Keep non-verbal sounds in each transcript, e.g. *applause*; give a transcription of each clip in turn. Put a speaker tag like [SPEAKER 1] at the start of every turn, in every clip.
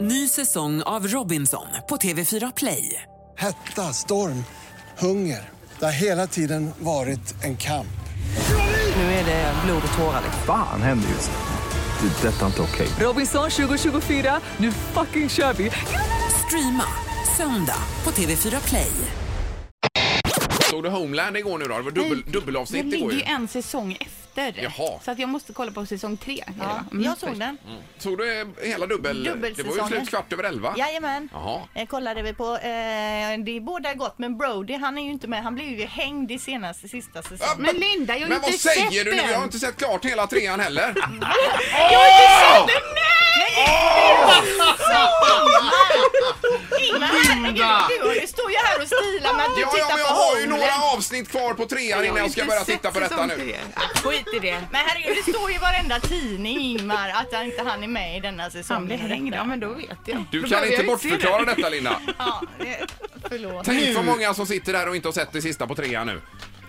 [SPEAKER 1] Ny säsong av Robinson på TV4 Play.
[SPEAKER 2] Hetta, storm, hunger. Det har hela tiden varit en kamp.
[SPEAKER 1] Nu är det blod och tårar.
[SPEAKER 3] Fan händer just nu. Det. är Detta är inte okej.
[SPEAKER 1] Robinson 2024, nu fucking kör vi! Streama söndag på TV4 Play.
[SPEAKER 4] Såg du Homeland igår nu då? Det var dubbel,
[SPEAKER 5] Det
[SPEAKER 4] dubbelavsnitt
[SPEAKER 5] ligger
[SPEAKER 4] igår
[SPEAKER 5] ju
[SPEAKER 4] ju.
[SPEAKER 5] en säsong efter.
[SPEAKER 4] Jaha.
[SPEAKER 5] Så att jag måste kolla på säsong tre.
[SPEAKER 6] Ja,
[SPEAKER 5] Mm.
[SPEAKER 6] jag såg den.
[SPEAKER 4] Såg du eh, hela dubbel... Det var ju
[SPEAKER 6] Dubbelsäsongen.
[SPEAKER 4] slut kvart över elva.
[SPEAKER 6] Jajamän.
[SPEAKER 4] Jaha.
[SPEAKER 6] Eh, kollade vi på. Eh, det är båda gott men Brody han är ju inte med. Han blev ju hängd i senaste sista säsongen.
[SPEAKER 5] Men Linda, jag har ju
[SPEAKER 4] Men
[SPEAKER 5] inte
[SPEAKER 4] vad
[SPEAKER 5] sett
[SPEAKER 4] säger du nu?
[SPEAKER 5] den.
[SPEAKER 4] Jag har inte sett klart hela trean
[SPEAKER 5] *laughs*
[SPEAKER 4] heller.
[SPEAKER 6] Men herregud, du, du står ju här och stilar med att du
[SPEAKER 4] Ja, ja,
[SPEAKER 6] tittar
[SPEAKER 4] men jag
[SPEAKER 6] på
[SPEAKER 4] har ju
[SPEAKER 6] Homeland.
[SPEAKER 4] några avsnitt kvar på trean innan jag ska börja titta på detta nu.
[SPEAKER 6] Skit i det. Men herregud, det står ju i varenda tidning Ingmar att han inte han är med i denna säsongen.
[SPEAKER 5] Han blir hängd, *laughs* ja men då vet jag.
[SPEAKER 4] Du
[SPEAKER 5] Då
[SPEAKER 4] kan
[SPEAKER 5] behöver
[SPEAKER 4] inte
[SPEAKER 5] jag se den.
[SPEAKER 4] bortförklara detta Linda.
[SPEAKER 6] Ja, eh, förlåt.
[SPEAKER 4] Tänk för många som sitter där och inte har sett det sista på trean nu.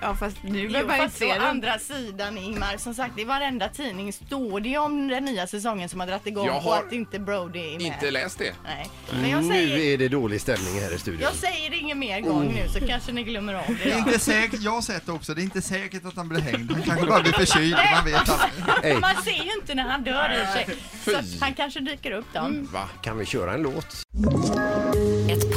[SPEAKER 5] Ja fast nu
[SPEAKER 6] Jo,
[SPEAKER 5] behöver jag inte
[SPEAKER 6] fast å
[SPEAKER 5] se den.
[SPEAKER 6] andra sidan Ingmar, som sagt i varenda tidning står det om den nya säsongen som har dragit igång
[SPEAKER 4] Jag
[SPEAKER 6] och
[SPEAKER 4] har
[SPEAKER 6] att inte Brody är med.
[SPEAKER 4] Inte läst det.
[SPEAKER 6] Nej. Men
[SPEAKER 5] Mm,
[SPEAKER 6] jag
[SPEAKER 7] Nu
[SPEAKER 6] säger,
[SPEAKER 7] är det dålig stämning här i studion.
[SPEAKER 6] jag säger ingen mer gång nu så kanske ni glömmer av det.
[SPEAKER 8] Det är inte säkert, jag har sett det också, det är inte säkert att han blir hängd. Han kanske bara blir förkyld, man vet aldrig.
[SPEAKER 7] Hej.
[SPEAKER 6] Man ser ju inte när han dör i sig. Så
[SPEAKER 4] Fy.
[SPEAKER 6] att han kanske dyker upp då.
[SPEAKER 4] Va?
[SPEAKER 7] Kan vi köra en låt?
[SPEAKER 9] Ett